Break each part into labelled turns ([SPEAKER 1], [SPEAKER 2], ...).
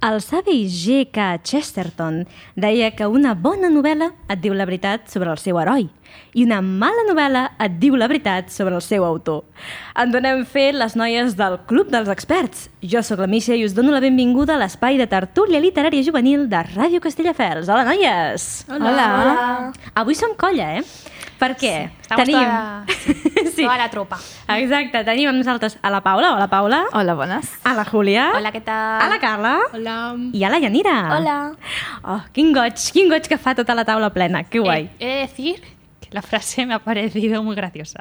[SPEAKER 1] El savi G.K. Chesterton deia que una bona novel·la et diu la veritat sobre el seu heroi i una mala novel·la et diu la veritat sobre el seu autor. En donem fe les noies del Club dels Experts. Jo sóc la Misha i us dono la benvinguda a l'espai de tertúlia literària juvenil de Ràdio Castelldefels. Hola, noies!
[SPEAKER 2] Hola.
[SPEAKER 1] Avui som colla, eh? Per què?
[SPEAKER 2] estamos
[SPEAKER 1] Tenim... sí,
[SPEAKER 2] Toda la tropa.
[SPEAKER 1] exacte. Tenim amb nosaltres a la Paula. Hola, Paula.
[SPEAKER 3] Hola, bones.
[SPEAKER 1] A la Júlia.
[SPEAKER 2] Hola, ¿qué tal?
[SPEAKER 1] A la Carla.
[SPEAKER 2] Hola.
[SPEAKER 1] I a la Yanira.
[SPEAKER 2] Hola.
[SPEAKER 1] Oh, quin goig, quin goig que fa tota la taula plena. Que guai.
[SPEAKER 4] Eh, he de decir que la frase me ha parecido muy graciosa.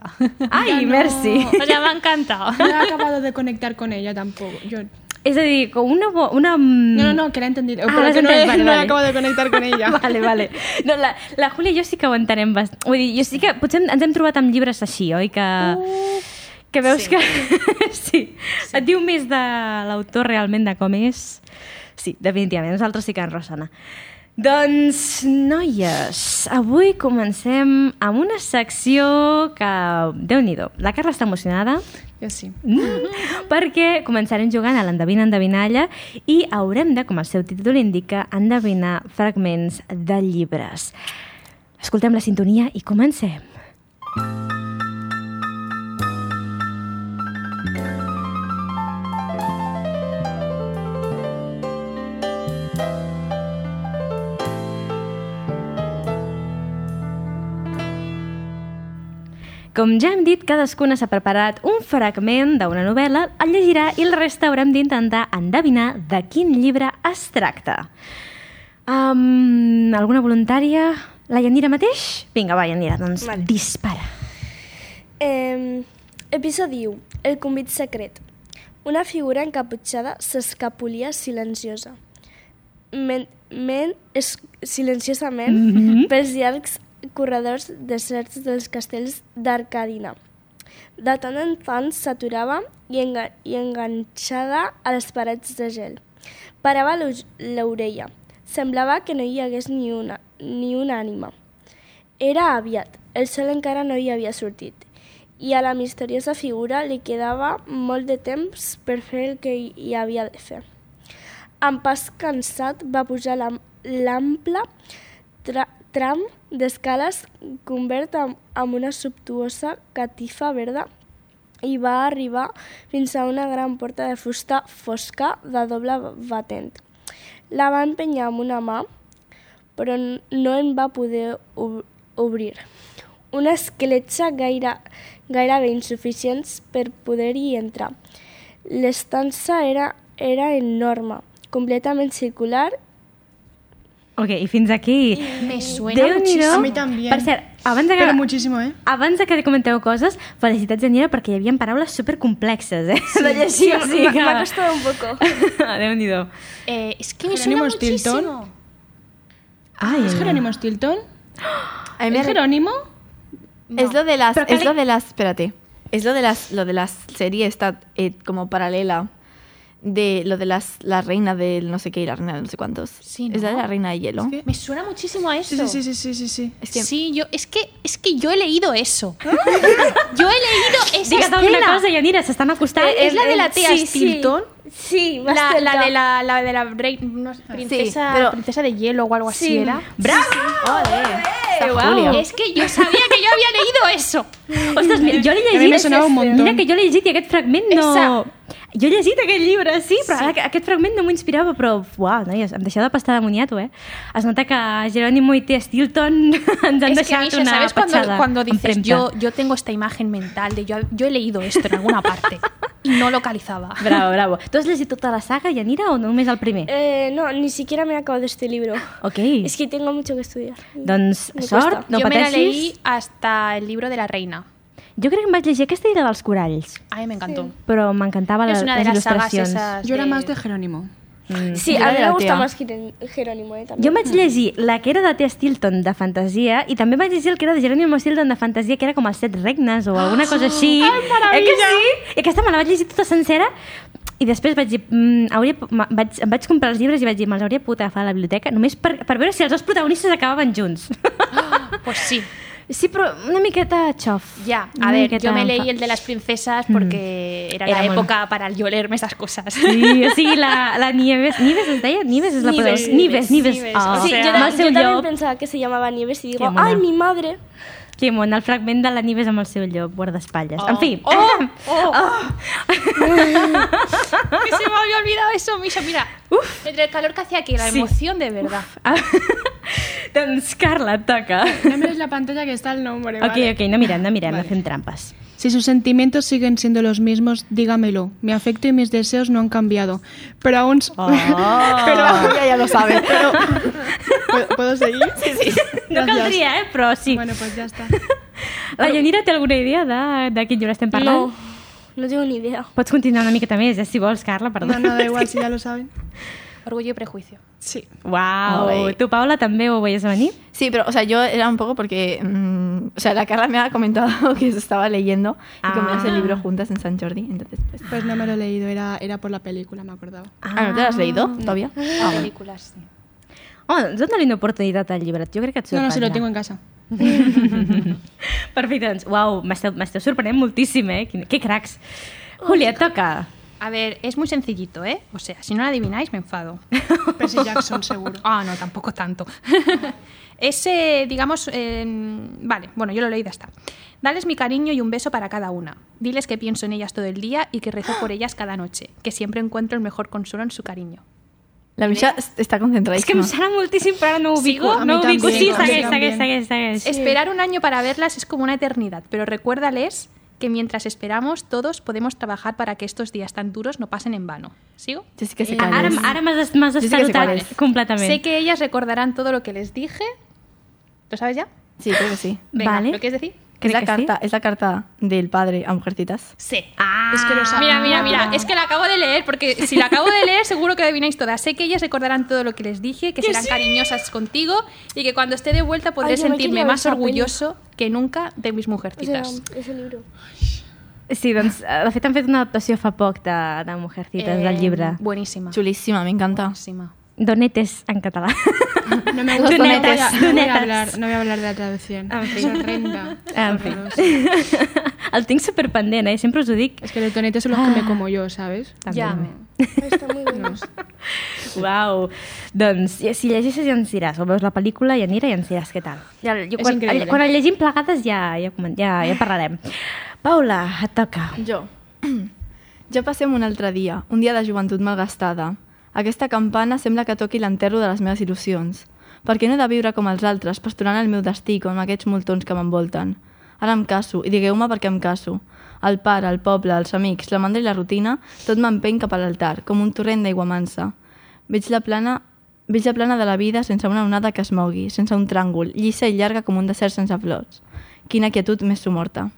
[SPEAKER 1] Ai, merci.
[SPEAKER 4] o sea, me ha encantado.
[SPEAKER 5] No he acabado de conectar con ella tampoco. Yo...
[SPEAKER 1] És a dir, com una... bo- una... mm,
[SPEAKER 5] No, no, no, que Mm. la he entendido.
[SPEAKER 1] Ah,
[SPEAKER 5] Pero
[SPEAKER 1] la
[SPEAKER 5] que no,
[SPEAKER 1] has
[SPEAKER 5] he,
[SPEAKER 1] entendido,
[SPEAKER 5] no he
[SPEAKER 1] vale.
[SPEAKER 5] acabado de conectar con ella.
[SPEAKER 1] Vale, vale. No, la, la Júlia i jo sí que ho entenem bastant. Vull dir, jo sí que potser ens hem trobat amb llibres així, oi? Que, que veus Uh. sí. que... sí. Et diu més de l'autor realment de com és. Sí, definitivament. Nosaltres sí que ens ressona. Doncs, noies, avui comencem amb una secció que... Déu-n'hi-do. La Carla està emocionada.
[SPEAKER 5] Yo sí.
[SPEAKER 1] Mm. perquè començarem jugant a l'endevina endevinalla i haurem de, com el seu títol indica, endevinar fragments de llibres. Escoltem la sintonia i comencem. Com ja hem dit, cadascuna s'ha preparat un fragment d'una novel·la, el llegirà i la resta haurem d'intentar endevinar de quin llibre es tracta. Um, alguna voluntària? La Yanira mateix? Vinga, va, Yanira, doncs vale. dispara.
[SPEAKER 6] Eh, episodi 1. El convit secret. Una figura encaputxada s'escapolia silenciosa. Men, men, es, silenciosament mm -hmm. pels llargs corredors deserts dels castells d'Arcadina. De tant en tant s'aturava i, enga i enganxada a les parets de gel. Parava l'us- l'orella. Semblava que no hi hagués ni una, ni una ànima. Era aviat, el sol encara no hi havia sortit, i a la misteriosa figura li quedava molt de temps per fer el que hi- hi havia de fer. Amb pas cansat va pujar l'am- l'ample tra tram d'escales convert amb, amb una subtuosa catifa verda i va arribar fins a una gran porta de fusta fosca de doble batent. La va empenyar amb una mà però n- no en va poder ob- obrir. Una escletxa gaire, gairebé insuficients per poder-hi entrar. L'estança era, era enorme, completament circular.
[SPEAKER 1] Ok, i fins aquí.
[SPEAKER 2] Me suena
[SPEAKER 1] Déu-n'hi-do.
[SPEAKER 5] A mi també.
[SPEAKER 1] Per cert, abans de que...
[SPEAKER 5] Pero muchísimo, ¿eh?
[SPEAKER 1] Abans de que comenteu coses, felicitats, Yanira, perquè hi havia paraules supercomplexes, eh? Sí, de llegir, o sigui que...
[SPEAKER 6] M'ha costat un poco.
[SPEAKER 1] Déu-n'hi-do.
[SPEAKER 2] Eh, es que me
[SPEAKER 5] Jerónimo
[SPEAKER 2] suena muchísimo.
[SPEAKER 5] Stilton. ¿Es Jerónimo Stilton?
[SPEAKER 3] A mí me
[SPEAKER 5] ¿Es
[SPEAKER 3] re-
[SPEAKER 5] Jerónimo?
[SPEAKER 3] Es lo de las,
[SPEAKER 5] Pero
[SPEAKER 3] es
[SPEAKER 5] Cali-
[SPEAKER 3] lo de las, espérate, es lo de las, lo de las serie esta eh, como paralela de lo de las, la reina del no sé qué y la reina del no sé cuántos.
[SPEAKER 2] Sí,
[SPEAKER 3] Es la de
[SPEAKER 2] ¿no?
[SPEAKER 3] la reina de hielo.
[SPEAKER 5] Es que-
[SPEAKER 2] Me suena muchísimo a eso.
[SPEAKER 5] Sí, sí, sí, sí, sí, sí, sí. Ah.
[SPEAKER 3] Es que-
[SPEAKER 2] Sí, yo, es que, es que yo he leído eso. yo he leído esa
[SPEAKER 1] Digues alguna
[SPEAKER 2] escena.
[SPEAKER 1] cosa, Yanira, s'estan acostant.
[SPEAKER 2] Eh, ¿Es la de la tía Stilton?
[SPEAKER 6] Sí,
[SPEAKER 2] La,
[SPEAKER 6] bastante.
[SPEAKER 2] la de la, la de la rei- no sé, princesa,
[SPEAKER 3] pero-
[SPEAKER 2] princesa de hielo o algo así
[SPEAKER 6] Sí.
[SPEAKER 2] era.
[SPEAKER 3] Esa
[SPEAKER 1] Eh, guau.
[SPEAKER 3] Julia.
[SPEAKER 2] Es que yo sabía que yo había leído eso.
[SPEAKER 1] Ostres, mira, jo l'he
[SPEAKER 5] A mi
[SPEAKER 1] llegit...
[SPEAKER 5] me sonava un montón.
[SPEAKER 1] Mira que jo l'he llegit i aquest fragment no...
[SPEAKER 2] Exacte.
[SPEAKER 1] Jo he llegit aquest llibre, sí, però sí. aquest fragment no m'inspirava, però, uau, noies, em deixeu de pastar de moniato, eh? Es nota que Jerónimo i Tia Stilton ens han
[SPEAKER 2] Es que,
[SPEAKER 1] deixat
[SPEAKER 2] Misha,
[SPEAKER 1] una
[SPEAKER 2] ¿sabes cuando,
[SPEAKER 1] petjada
[SPEAKER 2] cuando dices
[SPEAKER 1] empremta.
[SPEAKER 2] yo, yo tengo esta imagen mental de yo, yo he leído esto en alguna parte y no localizaba?
[SPEAKER 1] Bravo, bravo. Tu has llegit tota la saga, Yanira, o només el primer?
[SPEAKER 6] Eh, no, ni siquiera me he acabado este libro.
[SPEAKER 1] Ok,
[SPEAKER 6] Es que tengo mucho que estudiar.
[SPEAKER 1] doncs
[SPEAKER 6] Me
[SPEAKER 1] sort,
[SPEAKER 6] cuesta.
[SPEAKER 1] no
[SPEAKER 2] yo me la leí
[SPEAKER 1] pateixis.
[SPEAKER 2] hasta el libro de la reina.
[SPEAKER 1] Jo crec que em vaig llegir aquesta i la dels coralls,
[SPEAKER 2] A mí me encantó.
[SPEAKER 1] però m'encantava la-
[SPEAKER 2] es una de
[SPEAKER 1] les
[SPEAKER 2] las sagas
[SPEAKER 1] il·lustracions.
[SPEAKER 2] esas.
[SPEAKER 5] Yo era más de Jerónimo.
[SPEAKER 6] Sí,
[SPEAKER 3] Yo la
[SPEAKER 6] a mí
[SPEAKER 3] de
[SPEAKER 6] me
[SPEAKER 3] la
[SPEAKER 6] gusta
[SPEAKER 3] tía.
[SPEAKER 6] más Jeren- Jerónimo, eh, también.
[SPEAKER 1] Jo em vaig llegir la que era de T. Stilton de fantasia i també vaig llegir el que era de Jerónimo Stilton de fantasia que era com els set regnes o alguna cosa així. Ai, eh que sí? I aquesta me la vaig llegir tota sencera i després vaig dir, mm, hauria, ma- vaig, em vaig comprar els llibres i vaig dir, me'ls hauria pogut agafar a la biblioteca només per, per veure si els dos protagonistes acabaven junts.
[SPEAKER 2] Pues sí.
[SPEAKER 1] Sí, però una miqueta xof.
[SPEAKER 2] Ya, a
[SPEAKER 1] Una
[SPEAKER 2] ver,
[SPEAKER 1] miqueta
[SPEAKER 2] yo me
[SPEAKER 1] fa-
[SPEAKER 2] leí el de las princesas porque era,
[SPEAKER 1] Era
[SPEAKER 2] la
[SPEAKER 1] molt-
[SPEAKER 2] época para yo leerme esas cosas.
[SPEAKER 1] Sí, o sigui, la, la Nieves... Nieves es deia? Nieves és la
[SPEAKER 2] Nieves,
[SPEAKER 1] poderosa. Nieves, Nieves.
[SPEAKER 2] Nieves.
[SPEAKER 1] Ah,
[SPEAKER 2] O
[SPEAKER 6] Sí,
[SPEAKER 2] sea,
[SPEAKER 6] yo,
[SPEAKER 1] amb
[SPEAKER 6] ta-
[SPEAKER 1] el
[SPEAKER 6] yo
[SPEAKER 1] seu
[SPEAKER 6] también
[SPEAKER 1] llop.
[SPEAKER 6] pensaba que se llamaba Nieves y digo,
[SPEAKER 1] mona.
[SPEAKER 6] ¡ay, mi madre!
[SPEAKER 1] Que mona, el fragment de la Nieves amb el seu llop, guardaespatlles.
[SPEAKER 5] Oh.
[SPEAKER 1] En fi,
[SPEAKER 4] Ay, se me había olvidado eso, Misha. Mira, entre el calor que hacía aquí, la
[SPEAKER 1] Sí.
[SPEAKER 4] emoción de verdad.
[SPEAKER 1] Ah. doncs Carla, et toca.
[SPEAKER 5] No mires la pantalla que está el nombre.
[SPEAKER 1] Ok,
[SPEAKER 5] vale.
[SPEAKER 1] ok, no mirem, no mirem,
[SPEAKER 5] Vale.
[SPEAKER 1] no fem trampes.
[SPEAKER 5] Si sus sentimientos siguen siendo los mismos, dígamelo. Mi afecto y mis deseos no han cambiado. Pero aún. s-
[SPEAKER 3] Pero ella ya lo sabe. Pero
[SPEAKER 5] ¿Puedo, puedo seguir? Sí, sí.
[SPEAKER 1] No
[SPEAKER 5] Doncs
[SPEAKER 1] caldria, eh, però sí.
[SPEAKER 5] Bueno, pues ya está.
[SPEAKER 1] La Yanira té alguna idea de, de quin llibre estem parlant?
[SPEAKER 6] No, no tengo ni idea.
[SPEAKER 1] Pots continuar una miqueta més, eh, si vols, Carla, perdó.
[SPEAKER 5] No, no, da igual si ya lo saben.
[SPEAKER 2] Orgullo y prejuicio.
[SPEAKER 5] Sí.
[SPEAKER 1] Uau,
[SPEAKER 3] Ole.
[SPEAKER 1] tu, Paula, també ho veies venir?
[SPEAKER 3] Sí, pero, o sea, yo era un poco porque. mm, o sea, la Carla me ha comentado que se estaba leyendo y comimos
[SPEAKER 2] Ah.
[SPEAKER 3] el libro juntas en San Jordi. Entonces, pues.
[SPEAKER 5] Pues no me lo he leído, era, era por la película, me acordaba.
[SPEAKER 3] Ah, ¿no te lo has leído todavía? Ah, bueno.
[SPEAKER 2] Películas. sí.
[SPEAKER 1] Oh, doncs dona-li una oportunitat al llibre, jo crec que et
[SPEAKER 5] No,
[SPEAKER 1] sorprendrà.
[SPEAKER 5] no, si lo tengo en casa.
[SPEAKER 1] Perfecte, doncs, uau, m'esteu m'esteu sorprenent moltíssim, eh? Quin, que cracs. Júlia, et toca.
[SPEAKER 4] A ver, es muy sencillito, ¿eh? O sea, si no la adivináis, me enfado.
[SPEAKER 5] Percy Jackson, seguro.
[SPEAKER 4] Ah, no, tampoco tanto. Ese, digamos, eh, vale, bueno, yo lo leí de hasta. Dales mi cariño y un beso para cada una. Diles que pienso en ellas todo el día y que rezo por ellas cada noche, que siempre encuentro el mejor consuelo en su cariño.
[SPEAKER 3] La Misha está concentrada.
[SPEAKER 1] És que em sona moltíssim, però ara no ho ubico.
[SPEAKER 4] Sigo?
[SPEAKER 5] A mi
[SPEAKER 1] no ho ubico.
[SPEAKER 5] també,
[SPEAKER 1] Sí,
[SPEAKER 5] a mi
[SPEAKER 1] segueix,
[SPEAKER 5] també.
[SPEAKER 1] segueix, segueix, segueix.
[SPEAKER 4] Esperar un año para verlas es como una eternidad, pero recuérdales que mientras esperamos, todos podemos trabajar para que estos días tan duros no pasen en vano. ¿Sigo?
[SPEAKER 3] Jessica se
[SPEAKER 1] Ara,
[SPEAKER 3] calla.
[SPEAKER 1] ara m'has des- m'has
[SPEAKER 3] Jo sí que sé
[SPEAKER 1] destartat
[SPEAKER 3] qual és.
[SPEAKER 1] completament.
[SPEAKER 4] Sé que ellas recordarán todo lo que les dije. ¿Lo sabes ya?
[SPEAKER 3] Sí, creo que sí.
[SPEAKER 4] Venga,
[SPEAKER 1] Vale.
[SPEAKER 4] ¿Lo quieres decir?
[SPEAKER 3] Es
[SPEAKER 1] Crec
[SPEAKER 3] la,
[SPEAKER 1] que sí.
[SPEAKER 3] carta, es la carta del padre a Mujercitas.
[SPEAKER 4] Sí.
[SPEAKER 1] Ah,
[SPEAKER 5] Es que lo saben.
[SPEAKER 4] Mira, mira, mira, es que la acabo de leer, porque si la acabo de leer seguro que adivináis todas. Sé que ellas recordarán todo lo que les dije, que, serán cariñosas contigo y que cuando esté de vuelta podré
[SPEAKER 6] Ay, yo me
[SPEAKER 4] sentirme
[SPEAKER 6] quiero
[SPEAKER 4] más
[SPEAKER 6] esa peli.
[SPEAKER 4] orgulloso que nunca de mis
[SPEAKER 6] O sea,
[SPEAKER 4] mujercitas.
[SPEAKER 6] ese libro.
[SPEAKER 1] Sí, doncs, eh, de fet han fet una adaptació fa poc de, de Mujercitas,
[SPEAKER 4] Eh,
[SPEAKER 1] del llibre.
[SPEAKER 4] Buenísima.
[SPEAKER 3] Chulísima, me encanta.
[SPEAKER 4] Buenísima.
[SPEAKER 1] Donetes en català.
[SPEAKER 5] No me gusta.
[SPEAKER 1] Donetes,
[SPEAKER 5] no voy a- no voy
[SPEAKER 1] donetes. Ah,
[SPEAKER 5] a hablar, no voy a hablar de la traducción.
[SPEAKER 1] En
[SPEAKER 5] Es
[SPEAKER 1] fin. Ah,
[SPEAKER 5] horrenda.
[SPEAKER 1] En fi.
[SPEAKER 5] Horrorosa.
[SPEAKER 1] El tinc superpendent, eh? Sempre us ho dic.
[SPEAKER 5] Es que los donetes son los
[SPEAKER 1] Ah.
[SPEAKER 5] que me como yo, ¿sabes?
[SPEAKER 1] També.
[SPEAKER 4] Ya.
[SPEAKER 6] Está muy bueno.
[SPEAKER 1] Uau. Doncs, i- si llegeixes ja ens diràs, o veus la pel·lícula i anirà i ens diràs què tal. Ja, jo,
[SPEAKER 5] És
[SPEAKER 1] quan,
[SPEAKER 5] increïble.
[SPEAKER 1] quan el llegim plegades ja, ja, comen- ja, ja parlarem. Paula, et toca.
[SPEAKER 3] Jo. Ja passem un altre dia, un dia de joventut malgastada. Aquesta campana sembla que toqui l'enterro de les meves il·lusions. Per què no he de viure com els altres, pasturant el meu destí com aquests moltons que m'envolten? Ara em caso, i digueu-me per què em caso. El pare, el poble, els amics, la mandra i la rutina, tot m'empeny cap a l'altar, com un torrent d'aigua mansa. Veig la plana Veig la plana de la vida sense una onada que es mogui, sense un tràngol, llisa i llarga com un desert sense flors. Quina quietud més sumorta.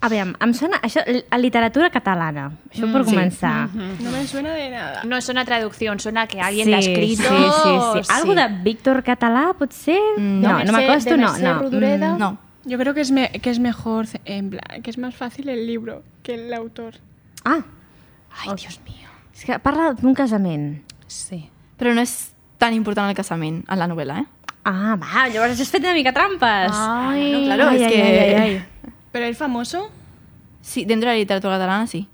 [SPEAKER 1] A veure, em sona això, l- a literatura catalana, això per començar.
[SPEAKER 5] No me suena de nada.
[SPEAKER 2] No es una traducción, suena que alguien la ha
[SPEAKER 1] Sí, sí,
[SPEAKER 2] escrito.
[SPEAKER 1] sí.
[SPEAKER 2] o
[SPEAKER 1] Algo
[SPEAKER 2] sí.
[SPEAKER 1] de Víctor Català, potser?
[SPEAKER 3] Mm,
[SPEAKER 1] no,
[SPEAKER 3] no.
[SPEAKER 1] no,
[SPEAKER 2] Mercè-
[SPEAKER 1] m'acosto,
[SPEAKER 2] de
[SPEAKER 1] no. Mm.
[SPEAKER 2] Mercè
[SPEAKER 1] no.
[SPEAKER 2] Rodoreda.
[SPEAKER 3] No,
[SPEAKER 5] Yo creo que es, me- que es mejor, ce- en plan, que es más fácil el libro que el autor.
[SPEAKER 1] Ah,
[SPEAKER 2] Ay, Dios mío.
[SPEAKER 1] és que parla d'un casament.
[SPEAKER 4] Sí.
[SPEAKER 3] Però no és tan important el casament en la novel·la, eh?
[SPEAKER 1] Ah, va, llavors has fet una mica trampes.
[SPEAKER 2] Ay.
[SPEAKER 3] No, claro,
[SPEAKER 1] Ai,
[SPEAKER 3] es
[SPEAKER 1] ai,
[SPEAKER 3] que...
[SPEAKER 1] ai, ai, ai.
[SPEAKER 5] ¿Pero es famoso?
[SPEAKER 3] Sí, dentro de la literatura catalana sí.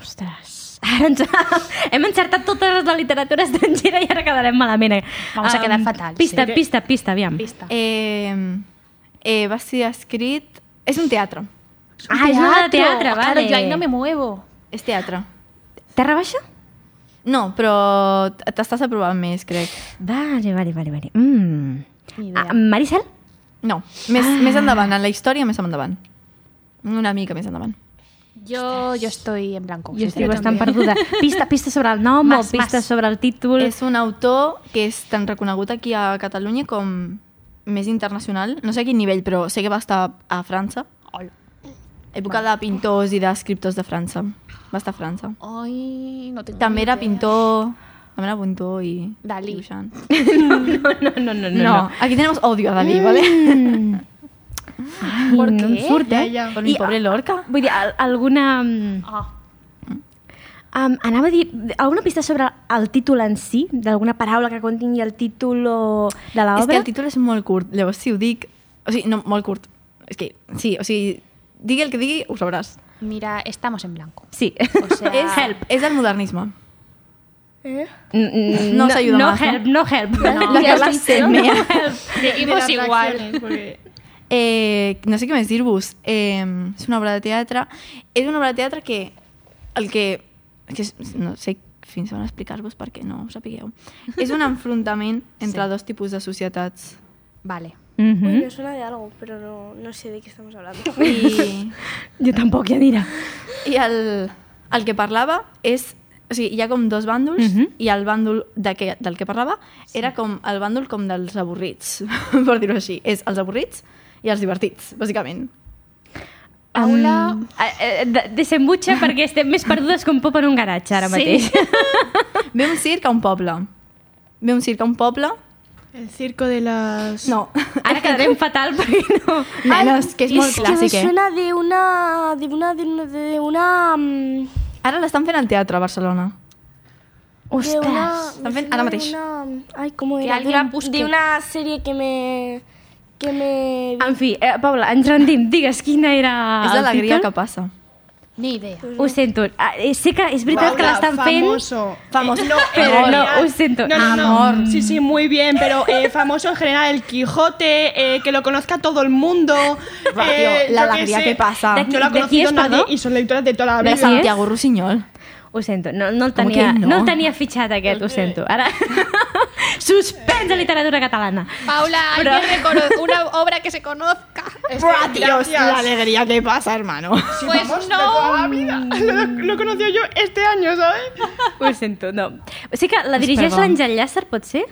[SPEAKER 1] Ostres. Ara ens... Hem encertat totes la literatura estrangera i ara quedarem malament. eh?
[SPEAKER 2] Vamos a quedar fatal,
[SPEAKER 1] Pista,
[SPEAKER 2] sí.
[SPEAKER 1] pista, pista, aviam.
[SPEAKER 2] Pista.
[SPEAKER 3] Eh, eh, va ser escrit... És un teatre.
[SPEAKER 1] Ah, és una de teatre,
[SPEAKER 2] Claro,
[SPEAKER 1] vale.
[SPEAKER 2] yo ahí
[SPEAKER 5] eh.
[SPEAKER 2] no me muevo.
[SPEAKER 3] És teatre.
[SPEAKER 1] Terra baixa?
[SPEAKER 3] No, però t- t'estàs aprovant més, crec.
[SPEAKER 1] Vale, vale, vale. vale. Mm.
[SPEAKER 2] Ni idea.
[SPEAKER 1] Ah, Maricel?
[SPEAKER 3] No, més, ah. més endavant. En la història, més endavant. Una mica més endavant.
[SPEAKER 2] Yo, yo estoy en blanco.
[SPEAKER 1] Jo estic
[SPEAKER 2] sinceramente.
[SPEAKER 1] bastant perduda. Pista, pista sobre el nom o
[SPEAKER 2] Mas,
[SPEAKER 1] pista
[SPEAKER 2] mas.
[SPEAKER 1] sobre el títol?
[SPEAKER 3] És un autor que és tan reconegut aquí a Catalunya com més internacional. No sé a quin nivell, però sé que va estar a França.
[SPEAKER 2] Hola.
[SPEAKER 3] Època de pintors i d'escriptors de França. Va estar a França.
[SPEAKER 2] Ay, no tengo
[SPEAKER 3] També
[SPEAKER 2] ni
[SPEAKER 3] era
[SPEAKER 2] idea.
[SPEAKER 3] pintor... També era pintor i...
[SPEAKER 2] Dalí.
[SPEAKER 3] dibuixant.
[SPEAKER 1] No, no, no.
[SPEAKER 3] No, aquí tenemos odio a Dalí, ¿vale?
[SPEAKER 1] Ai,
[SPEAKER 2] ¿Por
[SPEAKER 1] no em
[SPEAKER 2] qué?
[SPEAKER 1] surt, eh?
[SPEAKER 5] Ja, ja.
[SPEAKER 3] Con mi pobre Lorca.
[SPEAKER 1] Vull dir, al- alguna... mm,
[SPEAKER 2] Ah,
[SPEAKER 1] Um, anava a dir, alguna pista sobre el títol en si, d'alguna paraula que contingui el títol o de
[SPEAKER 3] És que
[SPEAKER 1] l'obra?
[SPEAKER 3] el títol és molt curt, llavors si ho dic O sigui, no, molt curt. És que, sí, o sigui, digui el que digui, ho sabràs.
[SPEAKER 4] Mira, estamos en blanco.
[SPEAKER 1] Sí.
[SPEAKER 4] O sea,
[SPEAKER 3] És, és el modernismo.
[SPEAKER 6] Eh?
[SPEAKER 1] No,
[SPEAKER 3] No us ayuda
[SPEAKER 1] no
[SPEAKER 3] más, ¿no?
[SPEAKER 1] help, no help.
[SPEAKER 3] La que va ser mea.
[SPEAKER 4] seguimos igual.
[SPEAKER 3] Eh, no sé què més dir-vos. Eh, és una obra de teatre. És una obra de teatre que el que... que és- no sé fins on explicar-vos perquè no ho sapigueu. És un enfrontament entre sí. dos tipus de societats.
[SPEAKER 4] Vale.
[SPEAKER 6] Uy,
[SPEAKER 1] Mhm.
[SPEAKER 6] me suena de algo, pero no, no sé de qué estamos hablando.
[SPEAKER 3] I,
[SPEAKER 1] Jo tampoc, ja dirà.
[SPEAKER 3] i el, el que parlava és... O sigui, hi ha com dos bàndols
[SPEAKER 1] Mhm.
[SPEAKER 3] i el bàndol de que, del que parlava era com el bàndol com dels avorrits, per dir-ho així. És els avorrits i els divertits, bàsicament.
[SPEAKER 1] Aula... eh, Desembutxa perquè estem més perdudes com pop en un garatge ara
[SPEAKER 3] Sí.
[SPEAKER 1] mateix.
[SPEAKER 3] Ve un circ a un poble. Ve un circ a un poble...
[SPEAKER 5] El circo de las...
[SPEAKER 3] No.
[SPEAKER 1] Ara quedarem fatal perquè no...
[SPEAKER 3] Nenes, que és molt
[SPEAKER 6] me
[SPEAKER 3] clàssic, eh?
[SPEAKER 6] suena de una... de una... de una... de una... mm,
[SPEAKER 3] Ara l'estan fent al teatre a Barcelona.
[SPEAKER 6] de una-
[SPEAKER 1] Ostres!
[SPEAKER 6] me
[SPEAKER 3] ven, ahora
[SPEAKER 6] suena de
[SPEAKER 3] mateix.
[SPEAKER 6] una- mm, Ay, ¿cómo
[SPEAKER 4] Que
[SPEAKER 6] era? De
[SPEAKER 4] alguien
[SPEAKER 6] una,
[SPEAKER 4] busque.
[SPEAKER 6] de una serie que me... que me...
[SPEAKER 1] En fi, eh, Paula, ens rendim. Digues quina era
[SPEAKER 3] Ah, és
[SPEAKER 1] el
[SPEAKER 3] l'alegria que
[SPEAKER 1] títol.
[SPEAKER 3] passa.
[SPEAKER 4] Ni idea.
[SPEAKER 1] Ho sento. Ah, eh, sé que és veritat que
[SPEAKER 5] Paula,
[SPEAKER 1] l'estan fent...
[SPEAKER 5] famoso. Famoso. No,
[SPEAKER 1] Pero
[SPEAKER 5] en
[SPEAKER 1] no,
[SPEAKER 5] realidad-
[SPEAKER 1] lo siento.
[SPEAKER 5] No, no, no.
[SPEAKER 3] Amor.
[SPEAKER 5] Sí, sí, muy bien, pero eh, famoso en general el Quijote, eh, que lo conozca todo el mundo. eh,
[SPEAKER 3] la
[SPEAKER 5] yo qué
[SPEAKER 3] alegría
[SPEAKER 5] sé.
[SPEAKER 3] que pasa.
[SPEAKER 1] ¿De
[SPEAKER 5] No lo ha
[SPEAKER 1] qui- de qui
[SPEAKER 5] conocido
[SPEAKER 1] es,
[SPEAKER 5] nadie
[SPEAKER 1] perdó?
[SPEAKER 5] y son lectoras de toda la
[SPEAKER 3] De
[SPEAKER 5] Biblia.
[SPEAKER 3] Santiago Rusiñol.
[SPEAKER 1] Ho sento, no, no, el
[SPEAKER 3] Com
[SPEAKER 1] tenia,
[SPEAKER 3] que
[SPEAKER 1] no?
[SPEAKER 3] no?
[SPEAKER 1] no el tenia fitxat aquest, ho sento. Ara... Suspens de literatura catalana.
[SPEAKER 4] Paula,
[SPEAKER 1] Pero-
[SPEAKER 4] alguien recono- una obra que se conozca.
[SPEAKER 5] Buah, tíos, la
[SPEAKER 3] alegría que pasa, hermano.
[SPEAKER 4] Pues no.
[SPEAKER 5] Lo, lo conocí yo este año, ¿sabes?
[SPEAKER 1] Ho sento, no. O sigui que la dirigeix
[SPEAKER 3] Espera.
[SPEAKER 1] l'Àngel Llàcer, pot ser?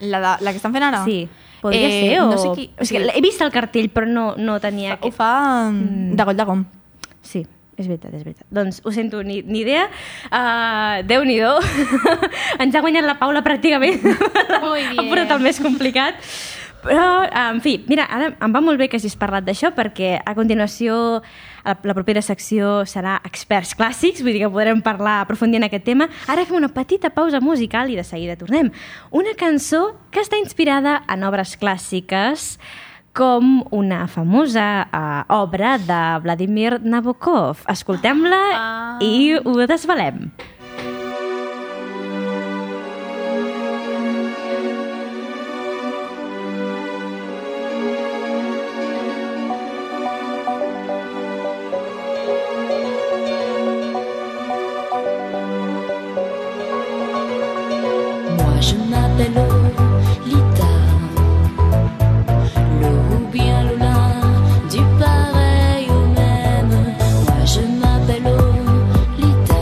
[SPEAKER 3] La, de, la que estan fent ara?
[SPEAKER 1] Sí. Podria eh, ser, o...
[SPEAKER 3] Ah. No sé qui...
[SPEAKER 1] O sigui, he vist el cartell, però no, no tenia...
[SPEAKER 3] Ho
[SPEAKER 1] Aquest...
[SPEAKER 3] fa mm. de goll de gom.
[SPEAKER 1] Sí, és veritat, és veritat. Doncs ho sento, ni, ni idea. Uh, Déu-n'hi-do. Ens ha guanyat la Paula pràcticament.
[SPEAKER 4] Muy
[SPEAKER 1] ha
[SPEAKER 4] bien.
[SPEAKER 1] portat el més complicat. Però, eh, en fi, mira, ara em va molt bé que hagis parlat d'això perquè a continuació la, la propera secció serà experts clàssics, vull dir que podrem parlar, aprofundir en aquest tema. Ara fem una petita pausa musical i de seguida tornem. Una cançó que està inspirada en obres clàssiques com una famosa eh, obra de Vladimir Nabokov. Escoltem-la
[SPEAKER 4] Ah.
[SPEAKER 1] i ho desvelem.
[SPEAKER 7] Moi je m'appelle Lolita, le ou bien Lola, du pareil au même. Moi je m'appelle Lolita,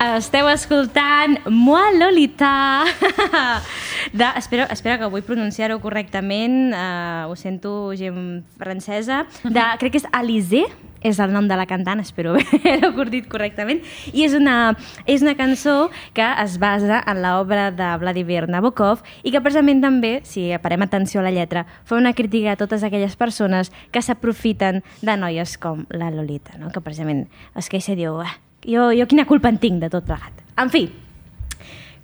[SPEAKER 1] Esteu escoltant Moa Lolita. De, espero, espero que vull pronunciar-ho correctament. Uh, ho sento, gent francesa. De, crec que és Alizé, és el nom de la cantant, espero haver-ho dit correctament. I és una, és una cançó que es basa en l'obra de Vladimir Nabokov i que precisament també, si parem atenció a la lletra, fa una crítica a totes aquelles persones que s'aprofiten de noies com la Lolita, no? que precisament es queixa i diu... Ah, jo, jo quina culpa en tinc de tot plegat. En fi,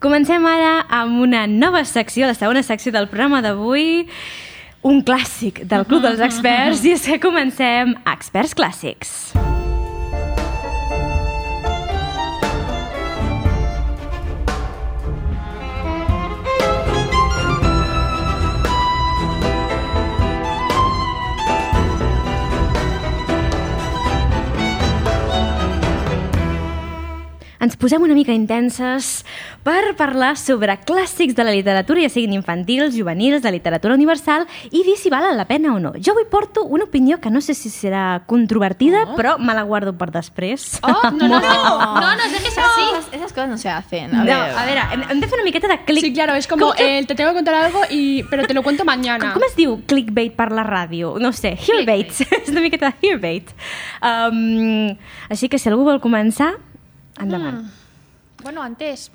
[SPEAKER 1] comencem ara amb una nova secció, la segona secció del programa d'avui, un clàssic del Club dels Experts, i és que comencem Experts Clàssics. Ens posem una mica intenses per parlar sobre clàssics de la literatura, ja siguin infantils, juvenils, de literatura universal, i dir si valen la pena o no. Jo avui porto una opinió que no sé si serà controvertida,
[SPEAKER 5] Oh.
[SPEAKER 1] però me la guardo per després.
[SPEAKER 2] Oh, no, no, no, no nos dejes así.
[SPEAKER 3] Esas, esas cosas no se hacen. A
[SPEAKER 1] No,
[SPEAKER 3] ver.
[SPEAKER 1] a veure, hem, hem de fer una miqueta de clic.
[SPEAKER 5] Sí, claro, es como, eh, te tengo que contar algo, y, pero te lo cuento mañana.
[SPEAKER 1] Com es diu clickbait per la ràdio? No ho sé, hearbait. és una miqueta de hearbait. Um, així que si algú vol començar, endavant.
[SPEAKER 2] Ah, Bueno, antes...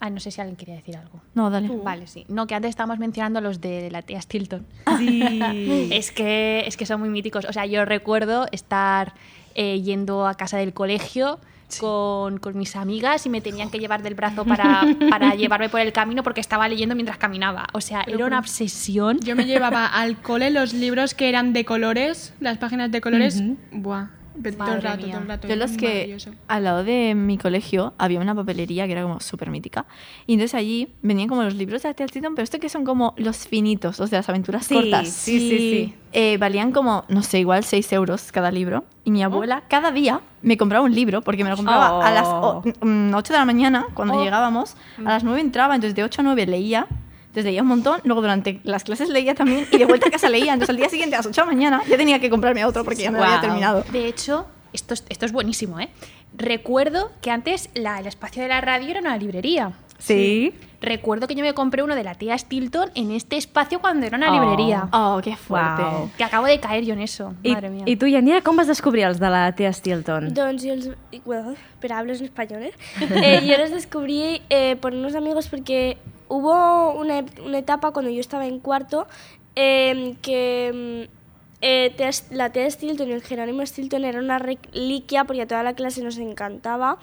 [SPEAKER 2] Ay, no sé si alguien quería decir algo.
[SPEAKER 3] No, dale.
[SPEAKER 2] Vale, sí. No, que antes estábamos mencionando los de la tía Stilton.
[SPEAKER 3] Ah.
[SPEAKER 1] Sí.
[SPEAKER 2] Es que, es que son muy míticos. O sea, yo recuerdo estar eh, yendo a casa del colegio con, con mis amigas y me tenían que llevar del brazo para, para llevarme por el camino porque estaba leyendo mientras caminaba. O sea, era una obsesión.
[SPEAKER 5] Yo me llevaba al cole los libros que eran de colores, las páginas de colores. Buah, pero todo
[SPEAKER 2] Madre
[SPEAKER 5] el rato,
[SPEAKER 2] mía.
[SPEAKER 5] todo el rato.
[SPEAKER 3] Yo los que
[SPEAKER 5] maravilloso.
[SPEAKER 3] al lado de mi colegio había una papelería que era como súper mítica. Y entonces allí venían como los libros de Atiel Titan, pero esto que son como los finitos, los de las aventuras
[SPEAKER 1] Sí,
[SPEAKER 3] cortas.
[SPEAKER 1] sí, sí, sí.
[SPEAKER 3] Eh, valían como, no sé, igual 6 euros cada libro. Y mi abuela cada día me compraba un libro, porque me lo compraba
[SPEAKER 1] Oh.
[SPEAKER 3] a las 8 de la mañana, cuando llegábamos. A las 9 entraba, entonces de 8 a 9 leía. Entonces leía un montón, luego durante las clases leía también y de vuelta a casa leía. Entonces al día siguiente a las 8 de la mañana ya tenía que comprarme otro porque ya me lo había
[SPEAKER 1] Guau.
[SPEAKER 3] terminado.
[SPEAKER 2] De hecho, esto es, esto es buenísimo, ¿eh? Recuerdo que antes la- el espacio de la radio era una librería.
[SPEAKER 1] Sí.
[SPEAKER 2] Recuerdo que yo me compré uno de la tía Stilton en este espacio cuando era una
[SPEAKER 1] Oh.
[SPEAKER 2] librería.
[SPEAKER 3] Oh, qué fuerte.
[SPEAKER 1] Wow.
[SPEAKER 2] Que acabo de caer yo en eso.
[SPEAKER 1] I,
[SPEAKER 2] Madre mía.
[SPEAKER 1] I tu, Yanira, com vas descobrir els de la Tia Stilton?
[SPEAKER 6] Doncs yo los... y- Bueno, pero hablo en español, ¿eh? Eh, Yo los descubrí eh, por unos amigos porque hubo una, ep- una etapa cuando yo estaba en cuarto eh, que mm, eh, Tea S- la Tea Stilton y el Jerónimo Stilton era una reliquia porque a toda la clase nos encantaba.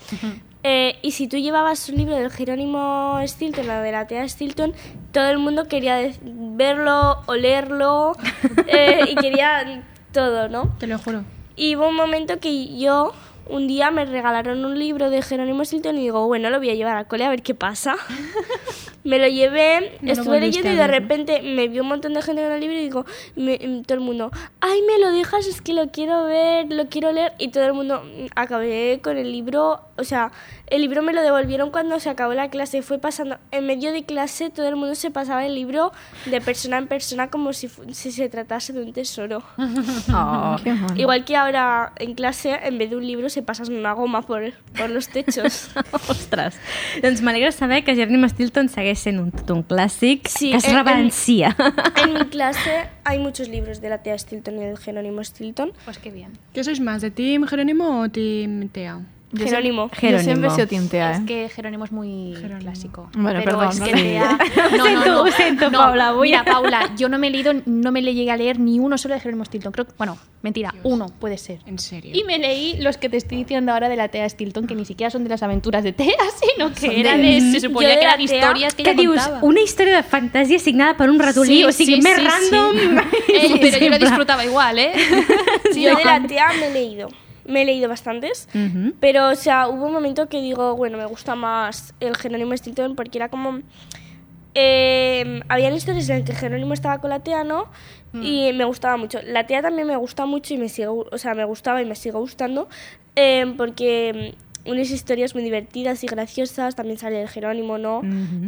[SPEAKER 6] Eh, y si tú llevabas un libro del Jerónimo Stilton o de la Tea Stilton, todo el mundo quería de- verlo, olerlo eh, y quería todo, ¿no?
[SPEAKER 5] Te lo juro.
[SPEAKER 6] Y hubo un momento que yo, un día me regalaron un libro de Jerónimo Stilton y digo, bueno, lo voy a llevar al cole a ver qué pasa. me lo llevé,
[SPEAKER 5] No lo
[SPEAKER 6] estuve
[SPEAKER 5] volviste
[SPEAKER 6] leyendo y
[SPEAKER 5] a ver,
[SPEAKER 6] de
[SPEAKER 5] ¿no?
[SPEAKER 6] repente me vio un montón de gente con el libro y digo, me- mm, todo el mundo, ay, me lo dejas, es que lo quiero ver, lo quiero leer. Y todo el mundo, mm, acabé con el libro, o sea, el libro me lo devolvieron cuando se acabó la clase, fue pasando, en medio de clase todo el mundo se pasaba el libro de persona en persona como si, fu- si se tratase de un tesoro.
[SPEAKER 1] Oh.
[SPEAKER 3] Qué mono.
[SPEAKER 6] Igual que ahora en clase, en vez de un libro, se pasan una goma por, por los techos.
[SPEAKER 1] Ostres, doncs m'alegra saber que Jerónimo Stilton segueix sent un, tot un clàssic
[SPEAKER 6] Sí,
[SPEAKER 1] que es
[SPEAKER 6] eh, eh,
[SPEAKER 1] reverencia.
[SPEAKER 2] eh,
[SPEAKER 6] en mi clase hay muchos libros de la tía Stilton y del Jerónimo Stilton.
[SPEAKER 2] Pues qué bien.
[SPEAKER 5] ¿Qué sois más, de Team Jerónimo o Team Tea?
[SPEAKER 3] Yo
[SPEAKER 6] Jerónimo.
[SPEAKER 3] siempre- Yo siempre
[SPEAKER 1] Jerónimo.
[SPEAKER 3] he sido tintea,
[SPEAKER 2] Es
[SPEAKER 3] ¿eh?
[SPEAKER 2] que Jerónimo es muy clásico.
[SPEAKER 3] Bueno, perdón,
[SPEAKER 2] Es
[SPEAKER 3] no
[SPEAKER 2] que
[SPEAKER 3] sé.
[SPEAKER 2] te ha-
[SPEAKER 1] Lo siento, lo siento, Paula, voy
[SPEAKER 2] mira,
[SPEAKER 1] a-
[SPEAKER 2] Paula, yo no me he leído, no me le llegué a leer ni uno solo de Jerónimo Stilton. Creo, que- bueno, mentira, uno puede ser.
[SPEAKER 5] En serio.
[SPEAKER 2] Y me leí los que te estoy diciendo ahora de la Tea Stilton, que ni siquiera son de las aventuras de Tea, sino que eran de, se
[SPEAKER 6] Yo
[SPEAKER 2] suponía
[SPEAKER 6] de
[SPEAKER 2] que
[SPEAKER 6] la
[SPEAKER 2] eran
[SPEAKER 6] Tea-
[SPEAKER 2] historias que
[SPEAKER 1] Què
[SPEAKER 2] ella
[SPEAKER 1] dius?
[SPEAKER 2] contaba.
[SPEAKER 1] Una història de fantasia signada per un ratolí,
[SPEAKER 2] Sí,
[SPEAKER 1] o sigui,
[SPEAKER 2] sí,
[SPEAKER 1] més
[SPEAKER 2] sí, sí.
[SPEAKER 1] random.
[SPEAKER 2] Eh,
[SPEAKER 1] Sí,
[SPEAKER 2] pero yo lo
[SPEAKER 1] sempre.
[SPEAKER 2] disfrutaba igual, ¿eh?
[SPEAKER 6] Yo de la tía me he leído. Me he leído bastantes.
[SPEAKER 1] Mhm.
[SPEAKER 6] Pero, o sea, hubo un momento que digo, bueno, me gusta más el Jerónimo Stilton porque era como... Eh, habían historias en las que Jerónimo estaba con la tía, ¿no? Y me gustaba mucho. La tía también me gusta mucho y me sigue... gu- O sea, me gustaba y me sigue gustando eh, porque mm, unas historias muy divertidas y graciosas. También sale el Jerónimo, ¿no?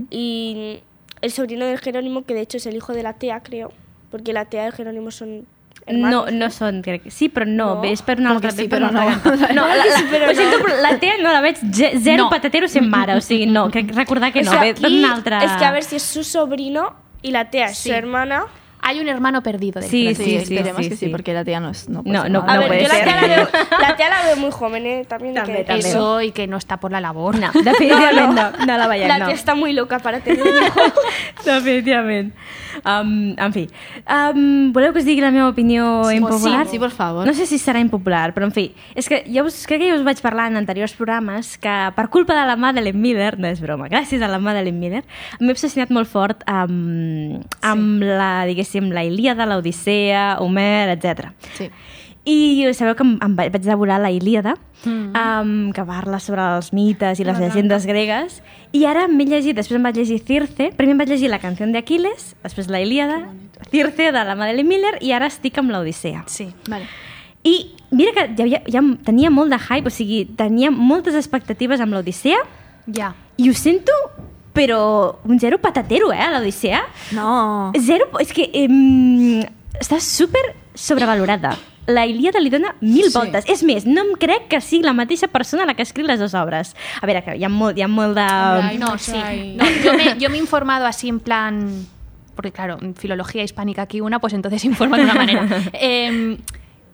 [SPEAKER 6] Y el sobrino del Jerónimo, que de hecho es el hijo de la tía, creo. Porque la tía y el Jerónimo son
[SPEAKER 1] No,
[SPEAKER 6] hermanos,
[SPEAKER 1] no són, crec. que- Sí, però no,
[SPEAKER 6] No.
[SPEAKER 1] no. és per una
[SPEAKER 3] Com que
[SPEAKER 1] altra...
[SPEAKER 3] sí,
[SPEAKER 1] és per una
[SPEAKER 3] però
[SPEAKER 1] altra
[SPEAKER 3] no.
[SPEAKER 1] canta. no. la, la,
[SPEAKER 6] però
[SPEAKER 1] ho sento, però la teva no la veig ze- zero
[SPEAKER 2] No.
[SPEAKER 1] patatero sent mare, o sigui, no, crec recordar que no, ve per una altra...
[SPEAKER 6] Es que a ver si es su sobrino y la tía es
[SPEAKER 2] Sí.
[SPEAKER 6] su hermana.
[SPEAKER 2] Hay un hermano perdido. del
[SPEAKER 1] Sí,
[SPEAKER 2] que no
[SPEAKER 1] sí,
[SPEAKER 2] sé.
[SPEAKER 3] esperemos
[SPEAKER 1] sí,
[SPEAKER 3] que sí,
[SPEAKER 1] sí.
[SPEAKER 3] porque la tía no es... No, puede
[SPEAKER 1] No,
[SPEAKER 3] ser
[SPEAKER 1] no,
[SPEAKER 3] madre.
[SPEAKER 6] A
[SPEAKER 1] no
[SPEAKER 6] ver,
[SPEAKER 1] puede
[SPEAKER 6] yo la
[SPEAKER 1] ser.
[SPEAKER 6] tía la veo, la tía la veo muy joven, ¿eh? También. hay
[SPEAKER 5] También,
[SPEAKER 6] que...
[SPEAKER 5] también.
[SPEAKER 2] Eso y que no está por la labor.
[SPEAKER 1] No, definitivament no, no, la veiem,
[SPEAKER 6] La
[SPEAKER 1] no.
[SPEAKER 6] tía está muy loca para tener un hijo.
[SPEAKER 1] Definitivament. Um, en fi, um, voleu que us digui la meva opinió sí, impopular?
[SPEAKER 3] sí, sí, por favor.
[SPEAKER 1] No sé si serà impopular, però en fi, és que jo us, crec que jo us vaig parlar en anteriors programes que per culpa de la Madeleine Miller, no és broma, gràcies a la Madeleine Miller, m'he obsessionat molt fort amb, amb sí. la, diguéssim, la Ilíada, l'Odissea, Homer, etc.
[SPEAKER 3] Sí.
[SPEAKER 1] I sabeu que em, em va- vaig devorar la Ilíada, mm. um, que parla sobre els mites i les llegendes gregues, i ara m'he llegit, després em vaig llegir Circe, primer em vaig llegir la canció d'Aquiles, després la Ilíada, Circe de la Madeleine Miller, i ara estic amb l'Odissea.
[SPEAKER 4] Sí.
[SPEAKER 3] Vale.
[SPEAKER 1] I mira que ja, havia- ja em- tenia molt de hype, o sigui, tenia moltes expectatives amb l'Odissea,
[SPEAKER 2] Ya.
[SPEAKER 1] i ho sento, però un zero patatero, eh, a l'Odissea.
[SPEAKER 3] No.
[SPEAKER 1] Zero, és que em, està super sobrevalorada. La Ilíada li dona mil
[SPEAKER 3] Sí.
[SPEAKER 1] sí. voltes. És més, no em crec que sigui la mateixa persona la que escriu les dues obres. A veure, que hi ha molt, hi ha molt de...
[SPEAKER 5] Ai,
[SPEAKER 2] No,
[SPEAKER 5] no
[SPEAKER 2] sí.
[SPEAKER 5] try.
[SPEAKER 2] No, yo, me, yo me he informado así en plan. Porque, claro, en filología hispánica aquí una, pues entonces se informa de una manera. Em,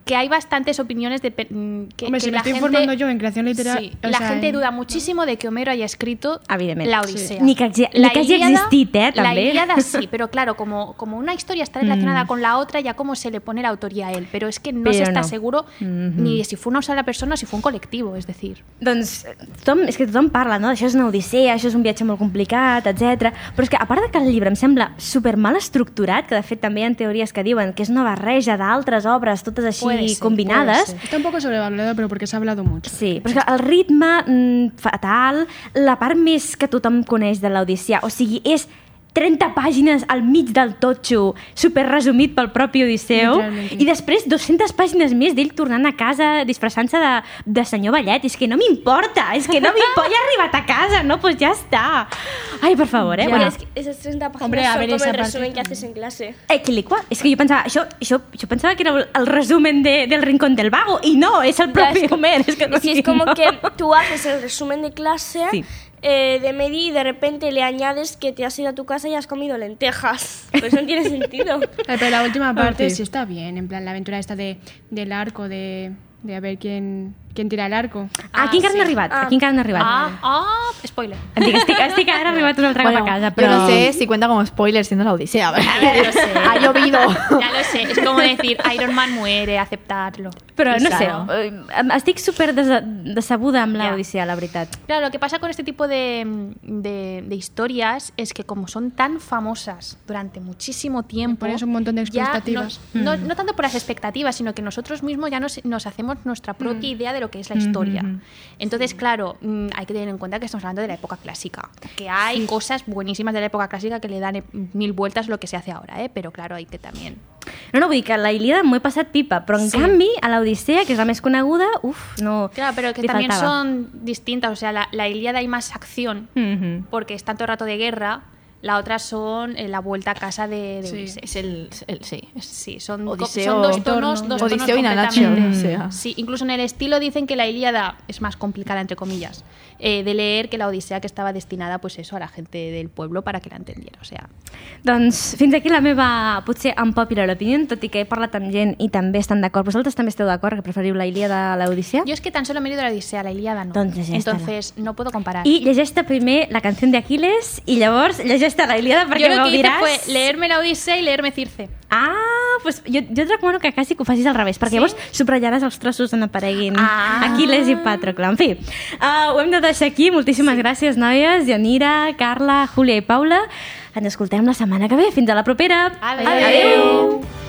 [SPEAKER 2] que hay bastantes opiniones de. pe- mm, Que,
[SPEAKER 5] Hombre,
[SPEAKER 2] que
[SPEAKER 5] si me
[SPEAKER 2] la
[SPEAKER 5] estoy
[SPEAKER 2] gente-
[SPEAKER 5] informando yo en creación literaria,
[SPEAKER 2] Sí,
[SPEAKER 5] o
[SPEAKER 2] la
[SPEAKER 5] sea,
[SPEAKER 2] gente
[SPEAKER 5] en-
[SPEAKER 2] duda muchísimo de que Homero haya escrito
[SPEAKER 1] Evidente.
[SPEAKER 2] la
[SPEAKER 1] Sí.
[SPEAKER 2] Odisea.
[SPEAKER 1] Ni que hagi- ni que hagi existit, eh,
[SPEAKER 2] La
[SPEAKER 1] també.
[SPEAKER 2] Ilíada sí, pero claro, como, como una historia está relacionada con la otra, ya como se le pone la autoría a él. Pero es que
[SPEAKER 1] Mm.
[SPEAKER 2] no se
[SPEAKER 1] Pero
[SPEAKER 2] está
[SPEAKER 1] no.
[SPEAKER 2] seguro ni de si fue una sola persona o si fue un colectivo, es decir.
[SPEAKER 1] Doncs tothom, és que tothom parla, no? Això és una odissea, això és un viatge molt complicat, etc. Però és que, a part de que el llibre em sembla super mal estructurat, que de fet també hi ha teories que diuen que és una barreja d'altres obres, totes així
[SPEAKER 2] Puede ser,
[SPEAKER 1] combinades,
[SPEAKER 2] puede
[SPEAKER 5] Está un poco sobrevalorado, pero porque se ha hablado mucho.
[SPEAKER 1] Sí, però és que el ritme mm, fatal, la part més que tothom coneix de l'Odissea, o sigui, és 30 pàgines al mig del totxo, super resumit pel propi Odisseu,
[SPEAKER 5] Literalment.
[SPEAKER 1] i després 200 pàgines més d'ell tornant a casa disfressant-se de, de senyor ballet. És que no m'importa, és que no m'importa, ja he arribat a casa, no? Pues ja està. Ai, per favor, eh?
[SPEAKER 2] Ja.
[SPEAKER 1] Bueno,
[SPEAKER 6] Es que esas 30 páginas
[SPEAKER 5] Hombre, a
[SPEAKER 6] son
[SPEAKER 5] ver,
[SPEAKER 6] como
[SPEAKER 5] esa
[SPEAKER 6] el
[SPEAKER 5] parte-
[SPEAKER 6] resumen que haces en clase.
[SPEAKER 1] Equilicua. És eh, que jo pensava, això, això, jo pensava que era el resumen de, del Rincón del Vago, i no, és el
[SPEAKER 6] Ya,
[SPEAKER 1] propi
[SPEAKER 6] es co-
[SPEAKER 1] Homer. És que no
[SPEAKER 6] Sí, es
[SPEAKER 1] sé,
[SPEAKER 6] como
[SPEAKER 1] no.
[SPEAKER 6] que tú haces el resumen de clase
[SPEAKER 1] Sí.
[SPEAKER 6] eh, de Medi y de repente le añades que te has ido a tu casa y has comido lentejas. Pues no tiene sentido.
[SPEAKER 5] Eh, pero la última parte
[SPEAKER 1] fin.
[SPEAKER 5] sí está bien, en plan la aventura esta de, del arco, de, de a ver quién, quién tira el arco.
[SPEAKER 1] Ah, quin encara n'ha arribat?
[SPEAKER 6] Ah.
[SPEAKER 1] Aquí encara n'ha arribat.
[SPEAKER 2] Ah, ah, spoiler.
[SPEAKER 1] Em dic, estic, estic ara arribat un altre
[SPEAKER 3] Bueno,
[SPEAKER 1] cop a casa, però...
[SPEAKER 3] yo no sé si cuenta como spoiler siendo la odisea.
[SPEAKER 2] A ver, lo sé.
[SPEAKER 3] ha llovido.
[SPEAKER 2] Ya lo sé, es como decir Iron Man muere, aceptarlo.
[SPEAKER 1] Però no sé,
[SPEAKER 2] Claro.
[SPEAKER 1] eh, em- estic super desa- decebuda amb
[SPEAKER 2] Ja.
[SPEAKER 1] l'Odissea, la veritat.
[SPEAKER 2] Claro, lo que pasa con este tipo de, de- de historias es que como son tan famosas durante muchísimo tiempo...
[SPEAKER 5] pones un montón de
[SPEAKER 2] ya
[SPEAKER 5] expectativas.
[SPEAKER 2] nos- No, no tanto por las expectativas, sino que nosotros mismos ya nos, nos hacemos nuestra propia idea de lo que es la historia. Entonces, claro, mm, hay que tener en cuenta que estamos hablando de la época clásica, que hay cosas buenísimas de la época clásica que le dan eh, mil vueltas lo que se hace ahora, ¿eh? pero claro, hay que también...
[SPEAKER 1] No, no, vull dir que a la Ilíada m'ho he passat pipa, però en
[SPEAKER 2] Sí.
[SPEAKER 1] sí. canvi a l'Odissea, que és la més coneguda, uf, no...
[SPEAKER 2] Claro, pero que
[SPEAKER 1] li
[SPEAKER 2] también
[SPEAKER 1] faltava.
[SPEAKER 2] son distintas, o sea, la, la Ilíada hay más acción,
[SPEAKER 1] Mhm.
[SPEAKER 2] porque es tanto rato de guerra, la otra son eh, la vuelta a casa de, de
[SPEAKER 5] Sí.
[SPEAKER 2] Ulises.
[SPEAKER 3] Es el, el- sí. es-
[SPEAKER 2] Sí, son, co-
[SPEAKER 3] Odiseo-
[SPEAKER 2] son dos tonos, dos tonos
[SPEAKER 3] Odiseo y Nanacho,
[SPEAKER 2] completamente-
[SPEAKER 3] o sea.
[SPEAKER 2] Sí, incluso en el estilo dicen que la Ilíada es más complicada, entre comillas, eh, de leer que la Odisea que estaba destinada, pues eso, a la gente del pueblo para que la entendiera, o sea...
[SPEAKER 1] Doncs fins aquí la meva, potser, unpopular opinion, tot i que he parlat amb gent i també estan d'acord. Vosaltres també esteu d'acord que preferiu la Ilíada a l'Odissea?
[SPEAKER 2] Yo es que tan solo me he leído la Odisea, la Ilíada no.
[SPEAKER 1] Entonces ya está.
[SPEAKER 2] Entonces, no puedo comparar.
[SPEAKER 1] I llegeix-te primer la canció d'Aquiles i llavors llegeix-te la Ilíada perquè
[SPEAKER 2] Yo lo
[SPEAKER 1] m'ho
[SPEAKER 2] que hice
[SPEAKER 1] diràs...
[SPEAKER 2] fue leerme la Odisea y leerme Circe.
[SPEAKER 1] Ah, doncs jo, jo et recomano que quasi que ho facis al revés, perquè sí? llavors subratllaràs els trossos on apareguin
[SPEAKER 2] Ah.
[SPEAKER 1] ah. Aquiles i Patroclo. En fi, uh, ho hem de deixar aquí. Moltíssimes sí. gràcies, noies, Janira, Carla, Júlia i Paula. Ens escoltem la setmana que ve. Fins a la propera.
[SPEAKER 2] Adeu. Adeu.